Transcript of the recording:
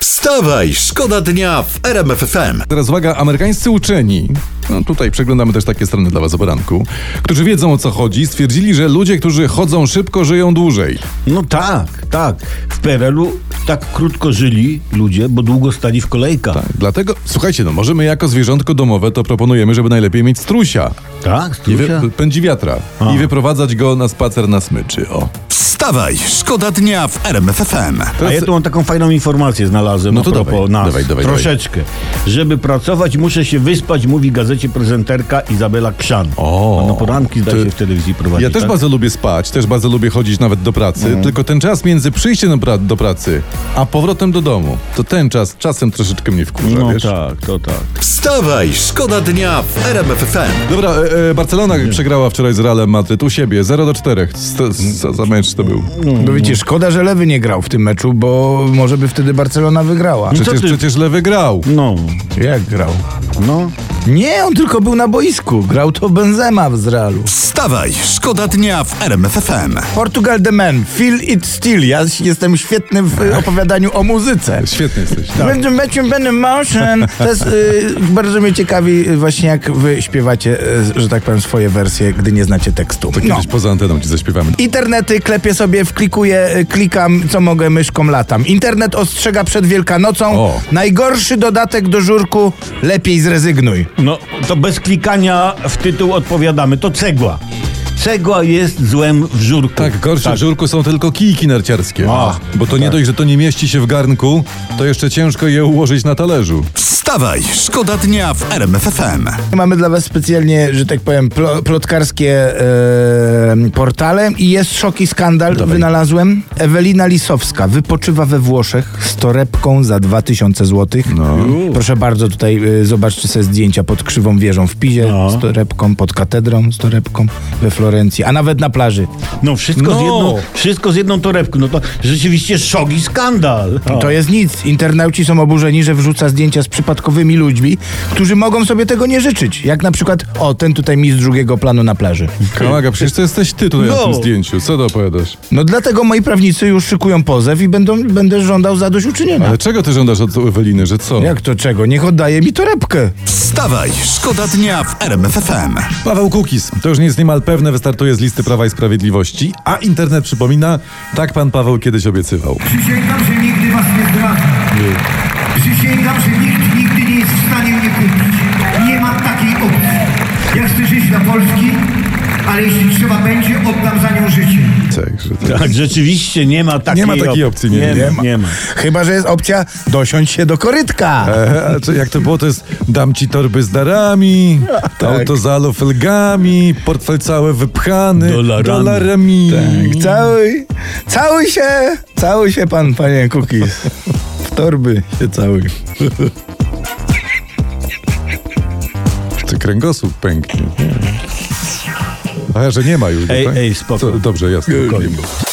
Wstawaj, szkoda dnia w RMF FM. Teraz uwaga, amerykańscy uczeni, no tutaj przeglądamy też takie strony dla was o poranku, którzy wiedzą o co chodzi, stwierdzili, że ludzie, którzy chodzą szybko, żyją dłużej. No tak, tak. W PRL-u tak krótko żyli ludzie, bo długo stali w kolejkach. Tak, Dlatego, słuchajcie, no może my jako zwierzątko domowe to proponujemy, żeby najlepiej mieć strusia. Tak, I wy, Strusia? pędzi wiatra. I wyprowadzać go na spacer na smyczy, o. Wstawaj, szkoda dnia w RMF FM. A ja tu mam taką fajną informację znalazłem No no to to a propos dawaj, nas. dawaj, dawaj, Troszeczkę. Żeby pracować, muszę się wyspać, mówi gazecie prezenterka Izabela Krzan. O. Ona poranki zdaje Ty- się w telewizji prowadzi. Ja też tak? Mhm. bardzo lubię spać, też bardzo lubię chodzić nawet do pracy, tylko ten czas między przyjściem do, pra- do pracy, a powrotem do domu, to ten czas czasem troszeczkę mnie wkurza, No wiesz? tak, to tak. Wstawaj, szkoda dnia w RMF FM. Dobra, e, e, Barcelona przegrała wczoraj z Realem Madryt u siebie 0 do 4. St- za, za mecz to był. Bo wiecie, No szkoda, że Lewy nie grał w tym meczu, bo może by wtedy Barcelona wygrała. Przecież, ty- przecież Lewy grał. No, Jak grał? no. Nie, on tylko był na boisku. Grał to Benzema z Realu. Wstawaj, szkoda dnia w RMF FM. Portugal the man, feel it still. Ja jestem świetny w y, opowiadaniu o muzyce. Świetny jesteś. Będę meczem, będę motion. To jest, y, bardzo mnie ciekawi y, właśnie jak wy śpiewacie, y, że tak powiem, swoje wersje, gdy nie znacie tekstu. No. Kiedyś poza anteną ci zaśpiewamy. Internety klepię sobie, wklikuję, y, klikam, co mogę, myszką latam. Internet ostrzega przed Wielkanocą. O. Najgorszy dodatek do żurku, lepiej zrezygnuj. No, to bez klikania w tytuł odpowiadamy. To cegła. Cegła jest złem w żurku. Tak, gorsze w żurku są tylko kijki narciarskie. A, bo to nie dość, że to nie mieści się w garnku, to jeszcze ciężko je ułożyć na talerzu. Wstawaj, szkoda dnia w RMF FM. Mamy dla was specjalnie, że tak powiem, plo, plotkarskie e, portale i jest szok i skandal, wynalazłem. Ewelina Lisowska wypoczywa we Włoszech z torebką za 2000 zł. Proszę bardzo, tutaj e, zobaczcie sobie zdjęcia pod krzywą wieżą w Pizie, No. z torebką, pod katedrą, z torebką we Florencji, a nawet na plaży. No, wszystko, Z No. jedną, wszystko z jedną torebką. No to rzeczywiście szok i skandal. O. To jest nic. Internauci są oburzeni, że wrzuca zdjęcia z przypadkowymi ludźmi, którzy mogą sobie tego nie życzyć. Jak na przykład, o, ten tutaj mistrz drugiego planu na plaży. Kamaga, przecież to jesteś ty tutaj na No. tym zdjęciu. Co to opowiadasz? No dlatego moi prawnicy już szykują pozew i będą, będę żądał zadośćuczynienia. Ale czego ty żądasz od Eweliny, że co? Jak to czego? Niech oddaje mi torebkę. Wstawaj, szkoda dnia w RMF FM. Paweł Kukiz, to już nie jest niemal pewne, wystartuje z listy Prawa i Sprawiedliwości, a internet przypomina, tak pan Paweł kiedyś obiecywał. Przysięgam, że nigdy was nie zdradzę. Przysięgam, że nikt nigdy nie jest w stanie mnie kupić. Nie mam takiej opcji. Ja chcę żyć dla Polski, ale jeśli trzeba będzie, oddam za nią życie. Także to Tak, rzeczywiście nie ma takiej Nie ma takiej opcji, nie, nie ma. Nie ma. Chyba, że jest opcja dosiąść się do korytka. E, a czy jak to było, to jest dam ci torby z darami, Tak. auto z alufelgami, portfel cały wypchany Dolarami. Tak. dolarami. Całuj, całuj się, całuj się pan, panie Kukis. W torby się całuj. Czy kręgosłup pęknie? Nie. A że nie ma już. Ej, tak? ej, spoko. Co, dobrze, jasne. Spokojnie.